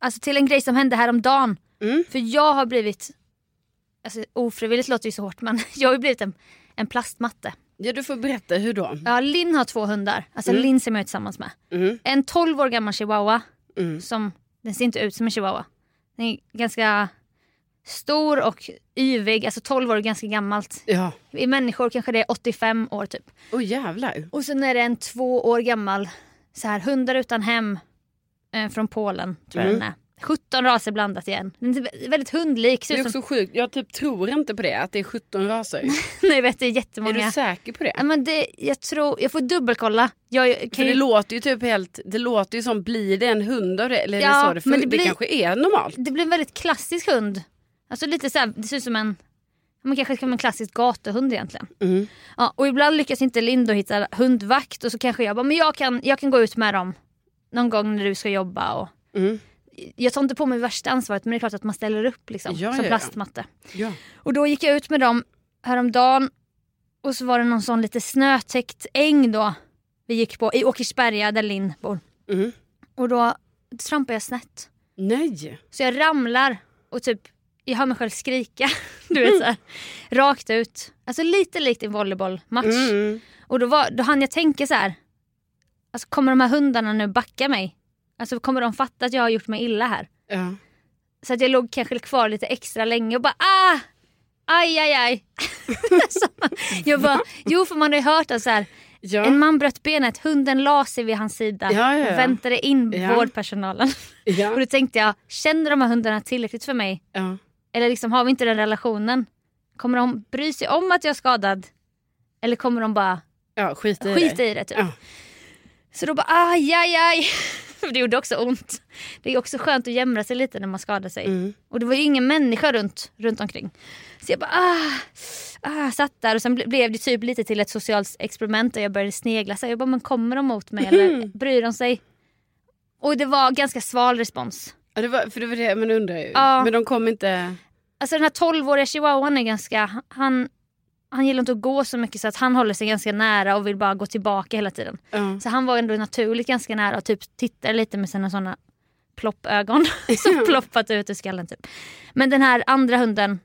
S2: Alltså till en grej som hände häromdagen.
S1: Mm.
S2: För jag har blivit, alltså ofrivilligt låter ju så hårt men jag har ju blivit en, en plastmatte.
S1: Ja, du får berätta. Hur då?
S2: Ja, Linn har två hundar. Alltså Linn som jag är tillsammans med.
S1: Mm.
S2: En 12 år gammal chihuahua.
S1: Mm.
S2: Som, den ser inte ut som en chihuahua. Den är ganska stor och yvig. Alltså 12 år är ganska gammalt.
S1: Ja.
S2: I människor kanske det är 85 år typ.
S1: Åh jävlar.
S2: Och sen är det en två år gammal så här, hundar utan hem eh, från Polen. tror
S1: Mm.
S2: jag den är. 17 raser blandat igen. Den är väldigt hundlik.
S1: Det
S2: Ser
S1: är
S2: ut som,
S1: också sjukt. Jag typ tror inte på det, att det är 17 raser.
S2: nej, vet, det är
S1: är du
S2: jättemånga.
S1: säker på
S2: Ja,
S1: det?
S2: men det, jag, tror, jag får dubbelkolla. Jag,
S1: För
S2: kan
S1: det
S2: ju,
S1: låter ju typ helt... Det låter ju som, blir det en hund av det? Eller är
S2: Ja,
S1: det så det, för,
S2: men
S1: men
S2: det
S1: det,
S2: blir-
S1: kanske är normalt?
S2: det blir en väldigt klassisk hund. Alltså lite så här, det ser ut som en, man kanske ska vara en klassisk gatuhund egentligen.
S1: Mm.
S2: Ja, och ibland lyckas inte Lindo hitta hundvakt och så kanske jag bara, men jag kan, jag kan gå ut med dem någon gång när du ska jobba. Och...
S1: Mm.
S2: Jag tar inte på mig värsta ansvaret men det är klart att man ställer upp liksom,
S1: Ja,
S2: som
S1: ja, ja.
S2: plastmatte.
S1: Ja.
S2: Och då gick jag ut med dem häromdagen och så var det någon sån lite snötäckt äng då vi gick på i Åkersberga där Linn bor.
S1: Mm.
S2: Och då trampade jag snett.
S1: Nej.
S2: Så jag ramlar och typ, jag hör mig själv skrika. Du vet så här, Rakt ut. Alltså lite likt en volleybollmatch.
S1: Mm.
S2: Och då, var, då hann jag tänka så här. Alltså kommer de här hundarna nu backa mig? Alltså kommer de fatta att jag har gjort mig illa här?
S1: Ja.
S2: Så att jag låg kanske kvar lite extra länge och bara ah! Aj aj aj. Så man- jag bara, jo för man har ju hört att så här,
S1: Ja.
S2: en man bröt benet, hunden la sig vid hans sida
S1: Ja, ja, ja.
S2: och väntade in
S1: Ja.
S2: vårdpersonalen. Och
S1: ja.
S2: då tänkte jag, känner de här hundarna tillräckligt för mig?
S1: ja.
S2: Eller liksom, har vi inte den relationen? Kommer de bry sig om att jag är skadad? Eller kommer de bara
S1: Ja, skit i
S2: skita
S1: det.
S2: i det? Typ?
S1: Ja.
S2: Så då bara aj, aj, aj. Det gjorde också ont. Det är också skönt att jämra sig lite när man skadar sig.
S1: Mm.
S2: Och det var ju ingen människa runt, runt omkring. Så jag bara ah, ah, satt där och sen ble, blev det typ lite till ett socialt experiment där jag började snegla. Så jag bara, men kommer de mot mig eller bryr de sig? Och det var ganska sval respons.
S1: Ja, det var, för det var det man undrar ju.
S2: Ja.
S1: Men de kom inte...
S2: Alltså den här 12-åriga chihuahuan är ganska, han han gillar inte att gå så mycket så att han håller sig ganska nära och vill bara gå tillbaka hela tiden.
S1: Ja.
S2: Så han var ändå naturligt ganska nära och typ tittade lite med sina sådana ploppögon som ploppat ut ur skallen. Typ. Men den här andra hunden,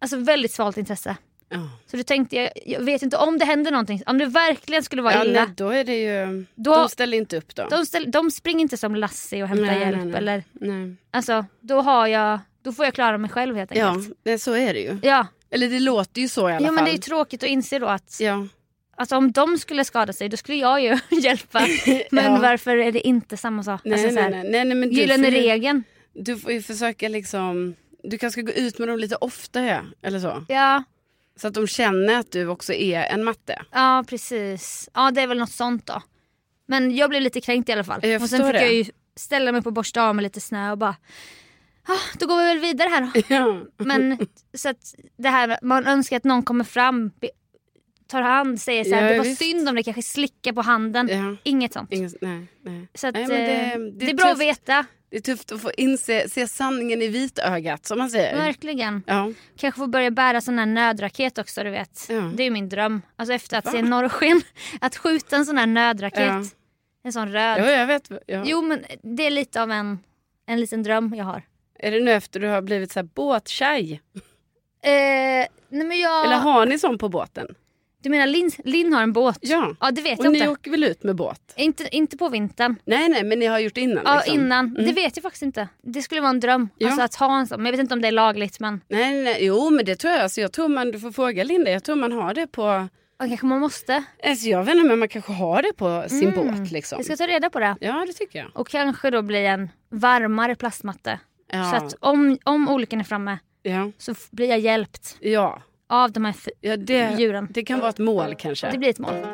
S2: alltså väldigt svalt intresse.
S1: Ja.
S2: Så du tänkte, jag, jag vet inte om det händer någonting, om det verkligen skulle vara
S1: Ja,
S2: illa.
S1: nej, då är det ju...
S2: Då-
S1: de ställer inte upp då.
S2: De, ställ, de springer inte som Lassie och hämtar
S1: Nej, nej,
S2: hjälp.
S1: nej.
S2: Eller,
S1: Nej.
S2: alltså, då, har jag, då får jag klara mig själv helt
S1: Ja,
S2: enkelt.
S1: det- så är det ju.
S2: Ja.
S1: Eller det låter ju så i alla
S2: Jo,
S1: fall.
S2: men det är ju tråkigt att inse då att
S1: Ja.
S2: alltså, om de skulle skada sig då skulle jag ju hjälpa. Men
S1: Ja.
S2: varför är det inte samma sak?
S1: Nej,
S2: alltså, så här,
S1: nej, nej, nej, nej, men du
S2: Gyllene
S1: får ju-
S2: regeln.
S1: Du får ju försöka liksom... Du kanske ska gå ut med dem lite oftare eller så.
S2: Ja,
S1: Så att de känner att du också är en matte.
S2: ja precis. Ja det är väl något sånt då. Men jag blev lite kränkt i alla fall.
S1: Jag
S2: och sen
S1: förstår
S2: fick
S1: det.
S2: jag ju ställa mig på och borsta av med lite snö och bara ah, då går vi väl vidare här då.
S1: Ja.
S2: Men så att det här med- man önskar att någon kommer fram, be- tar hand, säger så här,
S1: Ja,
S2: det var
S1: visst.
S2: synd om det kanske slickar på handen.
S1: ja.
S2: Inget sånt.
S1: Ingen, nej, nej.
S2: Så att,
S1: Nej,
S2: eh,
S1: men
S2: det,
S1: det- det
S2: är
S1: är
S2: bra att
S1: tufft.
S2: veta,
S1: Det är tufft att få inse se sanningen i vitögat som man säger.
S2: verkligen.
S1: Ja.
S2: Kanske få börja bära sån här nödraket också du vet.
S1: Ja.
S2: Det är ju min dröm. Alltså efter att
S1: Va?
S2: se norrsken, att skjuta en sån här nödraket.
S1: Ja.
S2: En sån röd.
S1: ja, jag vet. Ja.
S2: Jo men det är lite av en, en liten dröm jag har.
S1: Är det nu efter du har blivit så här båttjej?
S2: Eh, nej men jag...
S1: Eller har ni sån på båten?
S2: Du menar Linn Lin har en båt?
S1: Ja.
S2: Ja det vet
S1: Och
S2: jag
S1: ni
S2: inte.
S1: åker väl ut med båt?
S2: inte. Inte på vintern.
S1: Nej, nej, men ni har gjort det innan.
S2: Ja
S1: liksom.
S2: innan. Det vet jag faktiskt inte. Det skulle vara en dröm.
S1: Ja.
S2: Alltså att ha en sån. Men jag vet inte om det är lagligt men
S1: Nej, nej, nej, jo, men det tror jag. Alltså, jag tror man, du får fråga Linda, jag tror man har det på...
S2: ja, kanske man måste.
S1: Alltså, jag vet inte, men man kanske har det på sin båt. Liksom.
S2: Mm. Jag ska ta reda på det.
S1: Ja, det tycker jag.
S2: Och kanske då bli en varmare plastmatte.
S1: Ja.
S2: Så att om, om olyckan är framme
S1: Ja,
S2: så f- blir jag hjälpt
S1: ja.
S2: av de här f-
S1: ja det,
S2: djuren.
S1: det kan vara ett mål kanske.
S2: Det blir ett mål.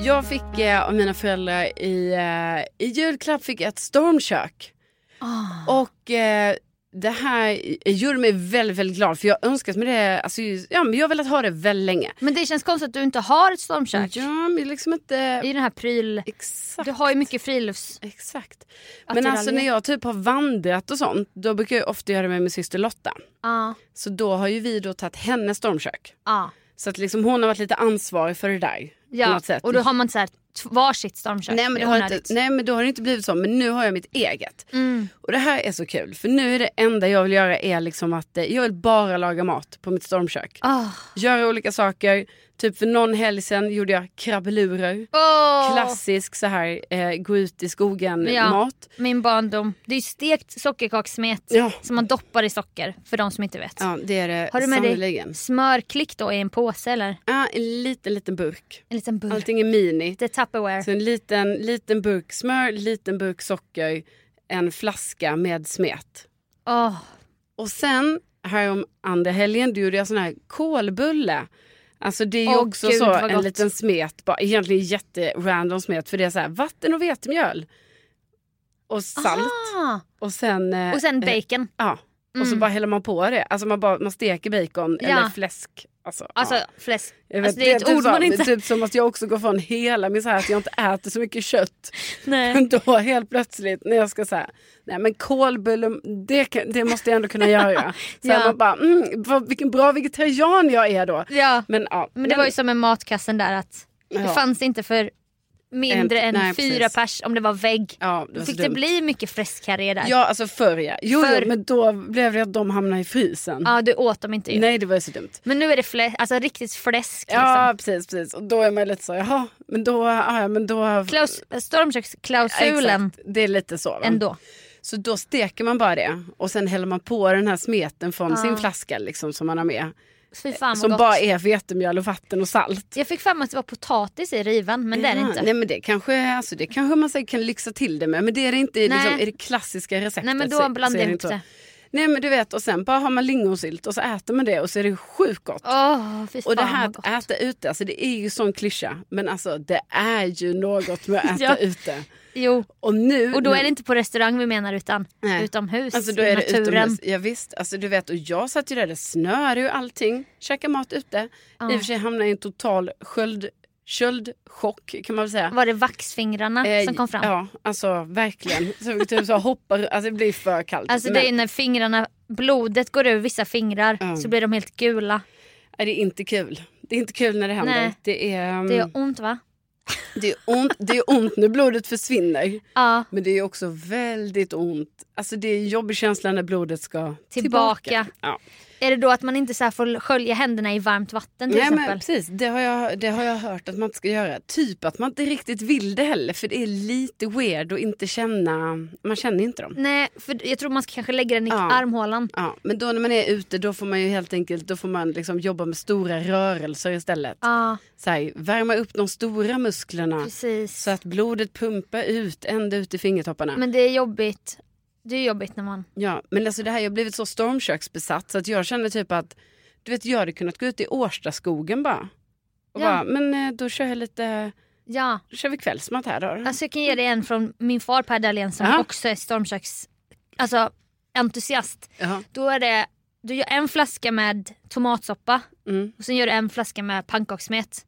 S1: Jag fick eh, av mina föräldrar i, eh, i julklapp fick jag ett stormkök.
S2: Ah.
S1: Och eh, det här eh, gjorde mig väldigt, väldigt glad för jag önskat mig det, alltså, ju- ja, men jag har velat ha det väldigt länge.
S2: Men det känns konstigt att du inte har ett stormkök
S1: Ja, men liksom inte...
S2: i den här pryl...
S1: Exakt.
S2: Du har ju mycket frilufts...
S1: Exakt.
S2: Att
S1: Men
S2: det
S1: alltså
S2: raljerar.
S1: när jag typ har vandrat och sånt, då brukar jag ofta göra det med min syster Lotta.
S2: Ja.
S1: Så då har ju vi då tagit hennes stormkök.
S2: ja.
S1: Så att liksom hon har varit lite ansvarig för det där. på
S2: ja.
S1: något sätt.
S2: Och då har man så här, t- varsitt stormkök.
S1: Nej men, det
S2: är
S1: har inte,
S2: onödigt.
S1: nej men då har det inte blivit så, men nu har jag mitt eget.
S2: Mm.
S1: Och det här är så kul, för nu är det enda jag vill göra är liksom att eh, jag vill bara laga mat på mitt stormkök.
S2: Ah.
S1: Göra olika saker, typ för någon helg sen gjorde jag krabbelurer.
S2: Åh,
S1: Klassisk så här eh, gå ut i skogen
S2: Ja.
S1: mat.
S2: Min barndom. Det är ju stekt sockerkakssmet
S1: Ja.
S2: som man doppar i socker för de som inte vet.
S1: Ja det är det
S2: Har du med
S1: sannerligen.
S2: dig smörklick då i en påse eller
S1: Ja, en liten, liten burk.
S2: en liten burk?
S1: Allting är mini.
S2: Det är Tupperware.
S1: Så en liten, liten burk smör, liten burk socker, en flaska med smet.
S2: Åh,
S1: Och sen härom andra helgen då gjorde jag sån här kolbulle. Alltså det är ju
S2: Åh,
S1: också
S2: gud,
S1: så
S2: vad
S1: en
S2: gott.
S1: liten smet, bara, egentligen jätterandom smet för det är så här vatten och vetemjöl. Och salt
S2: Ah.
S1: och sen... eh,
S2: Och sen
S1: eh,
S2: bacon.
S1: Ja, och så
S2: Mm.
S1: bara häller man på det. Alltså man, bara, man steker bacon
S2: Ja.
S1: eller fläsk. Alltså,
S2: Alltså
S1: ja.
S2: fläsk.
S1: Jag vet,
S2: Alltså, det är ett
S1: typ
S2: ord
S1: så,
S2: man
S1: men
S2: inte...
S1: Typ som att jag också går från hela min så här att jag inte äter så mycket kött.
S2: Nej.
S1: Då helt plötsligt när jag ska säga, nej men kolbulle, det, kan, det måste jag ändå kunna göra. Så
S2: Ja.
S1: här, man bara, mm, vad, vilken bra vegetarian jag är då.
S2: Ja.
S1: Men, ja,
S2: Men det var ju som med matkassen där att det
S1: Ja.
S2: fanns inte för mindre
S1: En-
S2: än
S1: nej,
S2: fyra
S1: precis.
S2: pers om det var vägg.
S1: ja, det
S2: Då
S1: var så
S2: fick det
S1: dumt.
S2: bli mycket fläskkarré där. Ja.
S1: Ja, alltså förr ja. Jo,
S2: Förr.
S1: jo, men då blev det att de hamnade i frysen.
S2: du åt dem inte ju.
S1: Nej, det var ju så dumt.
S2: Men nu är det flä- alltså, riktigt fläsk.
S1: Ja,
S2: Liksom.
S1: precis, precis. Och då är man lite så, jaha, men då... Ja, ja, men då
S2: Klaus- Stormköksklausulen
S1: Exakt, det är lite så. Va?
S2: ändå.
S1: Så då steker man bara det och sen häller man på den här smeten från sin flaska liksom, som man har med.
S2: Fy fan vad
S1: Som
S2: gott.
S1: bara är vetemjöl och vatten och salt.
S2: Jag fick för mig att det var potatis i riven men det är det
S1: Ja,
S2: inte.
S1: Nej men det kanske, alltså, det kanske man säkert kan lyxa till det med. Men det är det inte i liksom,
S2: Nej.
S1: i det klassiska receptet.
S2: Nej, men då
S1: så- så
S2: blandar
S1: är
S2: jag
S1: det
S2: ihop
S1: inte så.
S2: det.
S1: Nej men du vet och sen bara har man lingonsylt och så äter man det och så är det sjukt gott.
S2: Åh, fy fan
S1: Och det här
S2: vad gott.
S1: att äta ute, alltså det är ju sån klyscha. Men alltså det är ju något med att äta
S2: Ja.
S1: ute.
S2: Jo.
S1: Och nu...
S2: Och då
S1: när-
S2: är det inte på restaurang vi menar utan
S1: Mm. Nej.
S2: utomhus
S1: Alltså då
S2: i
S1: är det
S2: naturen.
S1: utomhus. Ja, visst. Alltså du vet, och jag satt ju
S2: Ah.
S1: där, det snöade ju allting. Käkade mat ute. I och för sig hamnade jag i en total sköld, köldchock kan man väl säga.
S2: Var det vaxfingrarna
S1: Eh,
S2: som kom fram?
S1: Ja, alltså verkligen. Så, typ så hoppar, alltså det blir för kallt.
S2: Alltså
S1: Men-
S2: det är när fingrarna, blodet går ur vissa fingrar
S1: Ja.
S2: så blir de helt gula.
S1: Nej, det är inte kul. Det är inte kul när det händer.
S2: Nej.
S1: Det, är, um,
S2: Det gör ont va?
S1: det, är ont, det är ont när blodet försvinner.
S2: Ja,
S1: Men det är också väldigt ont. Alltså det är en jobbig känsla när blodet ska
S2: Tillbaka.
S1: tillbaka. Ja.
S2: är det då att man inte så här får skölja händerna i varmt vatten
S1: Nej,
S2: till exempel?
S1: men precis. Det har, jag, det har jag hört att man inte ska göra. Typ att man inte riktigt vill det heller. För det är lite weird att inte känna... Man känner inte dem.
S2: Nej, för jag tror man ska kanske lägga den i
S1: Ja.
S2: armhålan.
S1: Ja, men då när man är ute då får man ju helt enkelt då får man liksom jobba med stora rörelser istället.
S2: Ja,
S1: Så här, värma upp de stora musklerna
S2: precis.
S1: så att blodet pumpar ut ända ut i fingertopparna.
S2: Men det är jobbigt. Det är jobbigt när man...
S1: Ja, men alltså det här, jag har blivit så stormköksbesatt så att jag känner typ att du vet, jag hade kunnat gå ut i Årstaskogen bara. Och
S2: Ja.
S1: bara, men eh, då kör jag lite,
S2: Ja,
S1: då kör vi kvällsmat här då.
S2: alltså jag kan ge dig en från min far Per Dahlén som
S1: Mm. Ja.
S2: också är stormköks... Alltså entusiast.
S1: Jaha.
S2: Då är det... Du gör en flaska med tomatsoppa
S1: Mm.
S2: och sen gör du en flaska med pannkakssmet.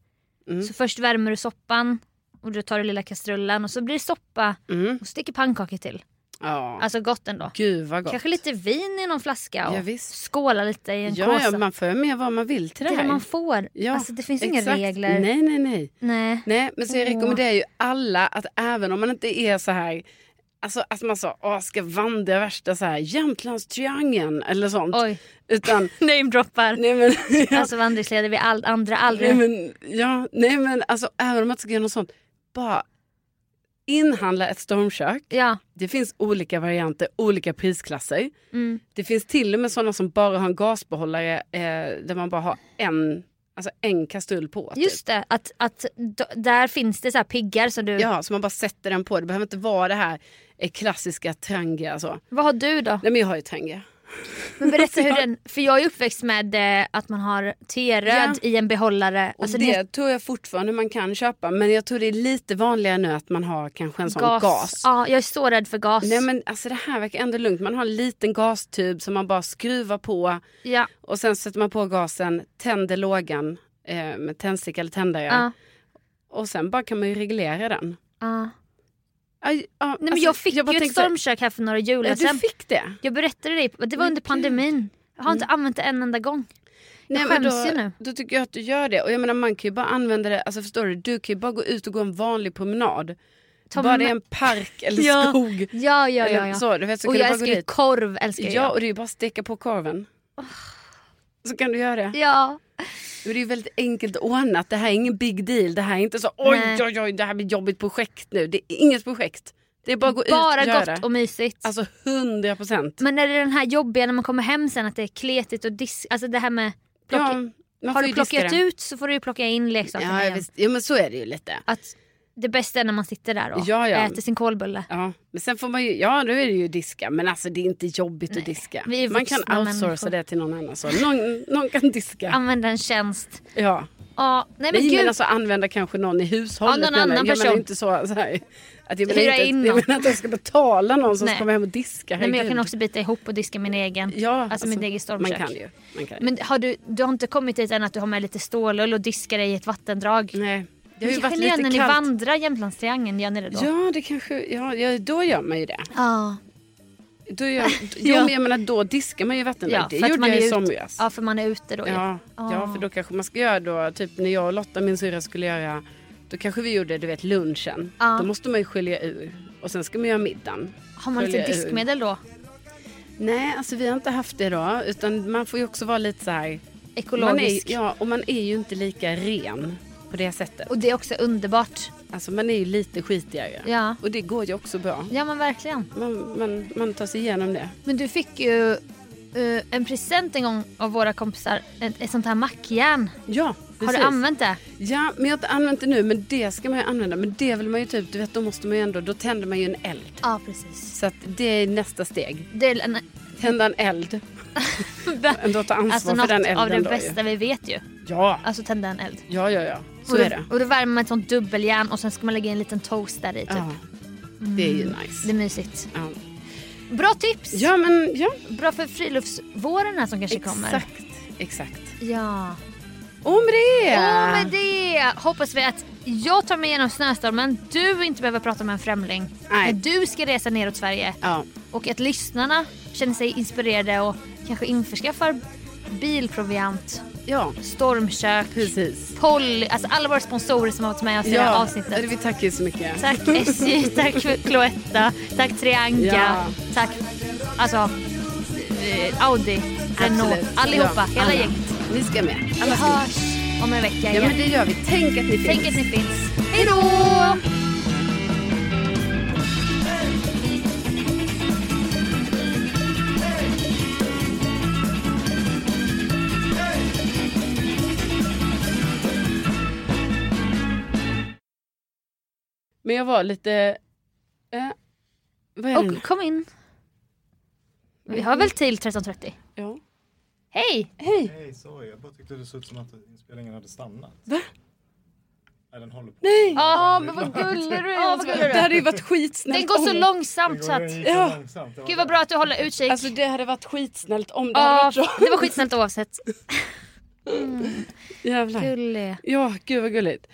S1: Mm.
S2: Så först värmer du soppan och då tar du lilla kastrullen och så blir det soppa
S1: Mm.
S2: och så sticker pannkakor till.
S1: Ja.
S2: Alltså gott ändå.
S1: Gud vad gott.
S2: Kanske lite vin i någon flaska och
S1: Ja, visst.
S2: skåla lite i en
S1: ja,
S2: kåsa.
S1: ja, man får ju med vad man vill till
S2: det
S1: det,
S2: är det
S1: här.
S2: man får.
S1: Ja,
S2: alltså, det finns inga
S1: exakt.
S2: regler. Mm.
S1: Nej, nej, nej.
S2: Nej.
S1: Nej, men så jag
S2: Åh.
S1: rekommenderar ju alla att även om man inte är så här, alltså att man så, åh, ska vandra värsta så här Jämtlandstriangeln eller sånt.
S2: Oj,
S1: Utan,
S2: namedroppar.
S1: nej men, ja,
S2: Alltså vandringsleder vi all, andra aldrig.
S1: nej, men, ja, nej men alltså även om man inte ska göra något sånt, bara inhandla ett stormkök.
S2: Ja,
S1: Det finns olika varianter, olika prisklasser.
S2: mm,
S1: Det finns till och med sådana som bara har en gasbehållare eh, där man bara har en, alltså en kastrull på. typ.
S2: just det. Att, att d- där finns det så här piggar som du...
S1: Ja, så man bara sätter den på. Det behöver inte vara det här eh, klassiska Trangia. Så.
S2: Vad har du då?
S1: Nej, men jag har ju Trangia.
S2: Men berätta hur den... För jag är uppväxt med eh, att man har
S1: Ja.
S2: teröd i en behållare.
S1: Och
S2: Alltså
S1: det,
S2: det,
S1: tror jag fortfarande man kan köpa. Men jag tror det är lite vanligare nu att man har kanske en sån gas.
S2: Ja, jag är så rädd för gas.
S1: Nej men alltså det här verkar ändå lugnt. Man har en liten gastub som man bara skruvar på
S2: ja.
S1: och sen sätter man på gasen, tänder lågan eh, med tändsticka eller tändare
S2: Ja.
S1: och sen bara kan man ju reglera den.
S2: ja. Nej,
S1: Aj, ja,
S2: men
S1: alltså,
S2: jag fick
S1: bara
S2: ju ett
S1: tänkte så här,
S2: stormkök här för några jular
S1: "Ja,
S2: sedan.
S1: Du fick det?
S2: Jag berättade det, det var
S1: Men
S2: under
S1: gud. Mm.
S2: pandemin. Jag har inte använt det en enda gång. Jag
S1: men
S2: skäms
S1: då,
S2: ju nu.
S1: Då tycker jag att du gör det. Och jag menar man kan ju bara använda det, alltså förstår du, du kan ju bara gå ut och gå en vanlig promenad.
S2: Ta
S1: bara
S2: med-
S1: det är en park eller
S2: Ja.
S1: skog.
S2: Ja, ja,
S1: Eller
S2: ja. ja.
S1: Så, du vet, så
S2: och
S1: kan
S2: jag
S1: du bara gå
S2: älskar ju
S1: dit.
S2: korv. Älskar jag.
S1: Ja, och det är ju bara att steka på korven. Så kan du göra det.
S2: ja.
S1: Men det är ju väldigt enkelt ordnat. Det här är ingen big deal. Det här är inte så oj,
S2: Nej.
S1: oj, oj, det här blir jobbigt projekt nu. Det är inget projekt. Det är bara att gå
S2: Bara
S1: ut och göra
S2: gott
S1: det.
S2: och mysigt.
S1: Alltså 100 procent.
S2: Men är det den här jobbiga när man kommer hem sen att det är kletigt och disk... Alltså det här med... Plocka... har du plockat ut så får du ju plocka in leksakerna
S1: Ja, ja,
S2: igen.
S1: visst. ja, men så är det ju lite.
S2: Att det bästa är när man sitter där och
S1: Ja, ja.
S2: äter sin kolbulle.
S1: Ja, men sen får man ju, ja nu är det ju diska, men alltså det är inte jobbigt att diska.
S2: vi är
S1: Man kan
S2: vuxna
S1: outsourca
S2: människor.
S1: det till någon annan. Så. Någon, någon kan diska.
S2: Använda en tjänst.
S1: Ja.
S2: Ja, nej men
S1: Nej,
S2: gud.
S1: men alltså använda kanske någon i hushållet.
S2: Ja, någon
S1: menar jag.
S2: annan
S1: jag menar
S2: person.
S1: inte så, så här, att jag menar,
S2: Hyra
S1: inte,
S2: in
S1: jag
S2: någon.
S1: menar att jag ska betala någon som
S2: Nej.
S1: ska komma hem och diska.
S2: nej, men jag
S1: herregud.
S2: kan också bita ihop och diska min egen.
S1: Ja,
S2: alltså, mitt eget
S1: Man
S2: stormkök.
S1: kan ju. Man kan ju.
S2: Men har du, du har inte kommit dit än att du har med lite stålull och diskar dig i ett vattendrag?
S1: Nej, det har
S2: Men
S1: ju
S2: kanske
S1: varit
S2: ni gör
S1: lite
S2: när ni
S1: kallt.
S2: vandrar Jämtlandstriangeln, gör ni det då?
S1: Ja, det kanske, ja, ja, då gör man ju det.
S2: Ja,
S1: Då gör, jo,
S2: Ja.
S1: men jag menar då diskar man ju vatten.
S2: ja,
S1: det
S2: för att
S1: gjorde
S2: man
S1: jag
S2: är
S1: i
S2: ut-
S1: somras.
S2: Ja, för man är ute då. ju.
S1: Ja, ja,
S2: Ah.
S1: för då kanske man ska göra då, typ när jag och Lotta, min syrra, skulle göra, då kanske vi gjorde, du vet, lunchen.
S2: Ja.
S1: Då måste man ju skölja ur. Och sen ska man göra middagen.
S2: Har man lite
S1: Skölja ur.
S2: diskmedel då?
S1: Nej, alltså vi har inte haft det då. Utan man får ju också vara lite så här. Man är,
S2: Ekologisk.
S1: ja, och man är ju inte lika ren på det sättet.
S2: Och det är också underbart.
S1: Alltså man är ju lite skitigare.
S2: Ja.
S1: Och det går ju också bra.
S2: Ja men verkligen.
S1: Man, man, man tar sig igenom det.
S2: Men du fick ju eh, en present en gång av våra kompisar. Ett, ett sånt här mackjärn.
S1: Ja,
S2: Har du använt det?
S1: Ja, men jag har inte använt det nu. Men det ska man ju använda. Men det vill man ju typ, du vet, då måste man ju ändå, då tänder man ju en eld.
S2: Ja precis.
S1: Så att det är nästa steg.
S2: Det är en,
S1: Tända en eld. Ändå ta ansvar
S2: alltså
S1: för
S2: något
S1: den elden
S2: av det
S1: då
S2: bästa vi vet ju.
S1: Ju. Ja.
S2: Alltså tända en eld.
S1: ja, ja, ja. Så
S2: och, då,
S1: är det.
S2: och då värmer man ett sånt dubbeljärn och sen ska man lägga in en liten toast där i typ.
S1: Ja. Mm. Det är ju nice.
S2: Det är mysigt.
S1: Ja.
S2: Bra tips!
S1: ja, men ja.
S2: Bra för friluftsvåren här som kanske kommer.
S1: Exakt. Exakt.
S2: Ja.
S1: Och med det!
S2: Och med det det hoppas vi att jag tar mig igenom snöstormen, du inte behöver prata med en främling
S1: Nej.
S2: när du ska resa neråt Sverige.
S1: Ja.
S2: Och att lyssnarna känner sig inspirerade och kanske införskaffar bilproviant,
S1: ja,
S2: stormkök,
S1: precis.
S2: Polly, alltså alla våra sponsorer som har varit med oss i det här
S1: Ja,
S2: avsnittet.
S1: vi tackar ju så mycket.
S2: Tack SJ, tack Cloetta, tack Trianka,
S1: Ja.
S2: tack alltså eh, Audi, Renault,
S1: Absolut.
S2: allihopa,
S1: Ja,
S2: hela
S1: alla.
S2: gänget.
S1: Ni ska med.
S2: Vi
S1: Alla ska med.
S2: hörs om en vecka
S1: Ja,
S2: igen.
S1: men det gör vi. Tänk att ni finns.
S2: Tänk att ni finns. Hej då!
S1: Men jag var lite... Eh, vad är det nu?
S2: Och kom in. Vi har väl till 13.30?
S1: Ja.
S2: Hej!
S1: Hej!
S3: Hej, sorry. Jag bara tyckte det såg ut som att inspelningen hade stannat.
S1: Va?
S3: Nej, den håller på.
S1: Nej!
S2: Åh, men vad gullig du är. vad gullig
S1: Det
S2: du är.
S1: hade ju varit skitsnällt
S2: Den går så
S1: om-
S2: långsamt så att...
S3: Den gick så
S1: Ja.
S3: långsamt. Det var
S2: Gud vad bra att du håller utkik.
S1: Alltså det hade varit skitsnällt om det hade
S2: Ja,
S1: varit så.
S2: det var skitsnällt oavsett.
S1: Jävlar.
S2: Gullig.
S1: Ja, gud vad gulligt.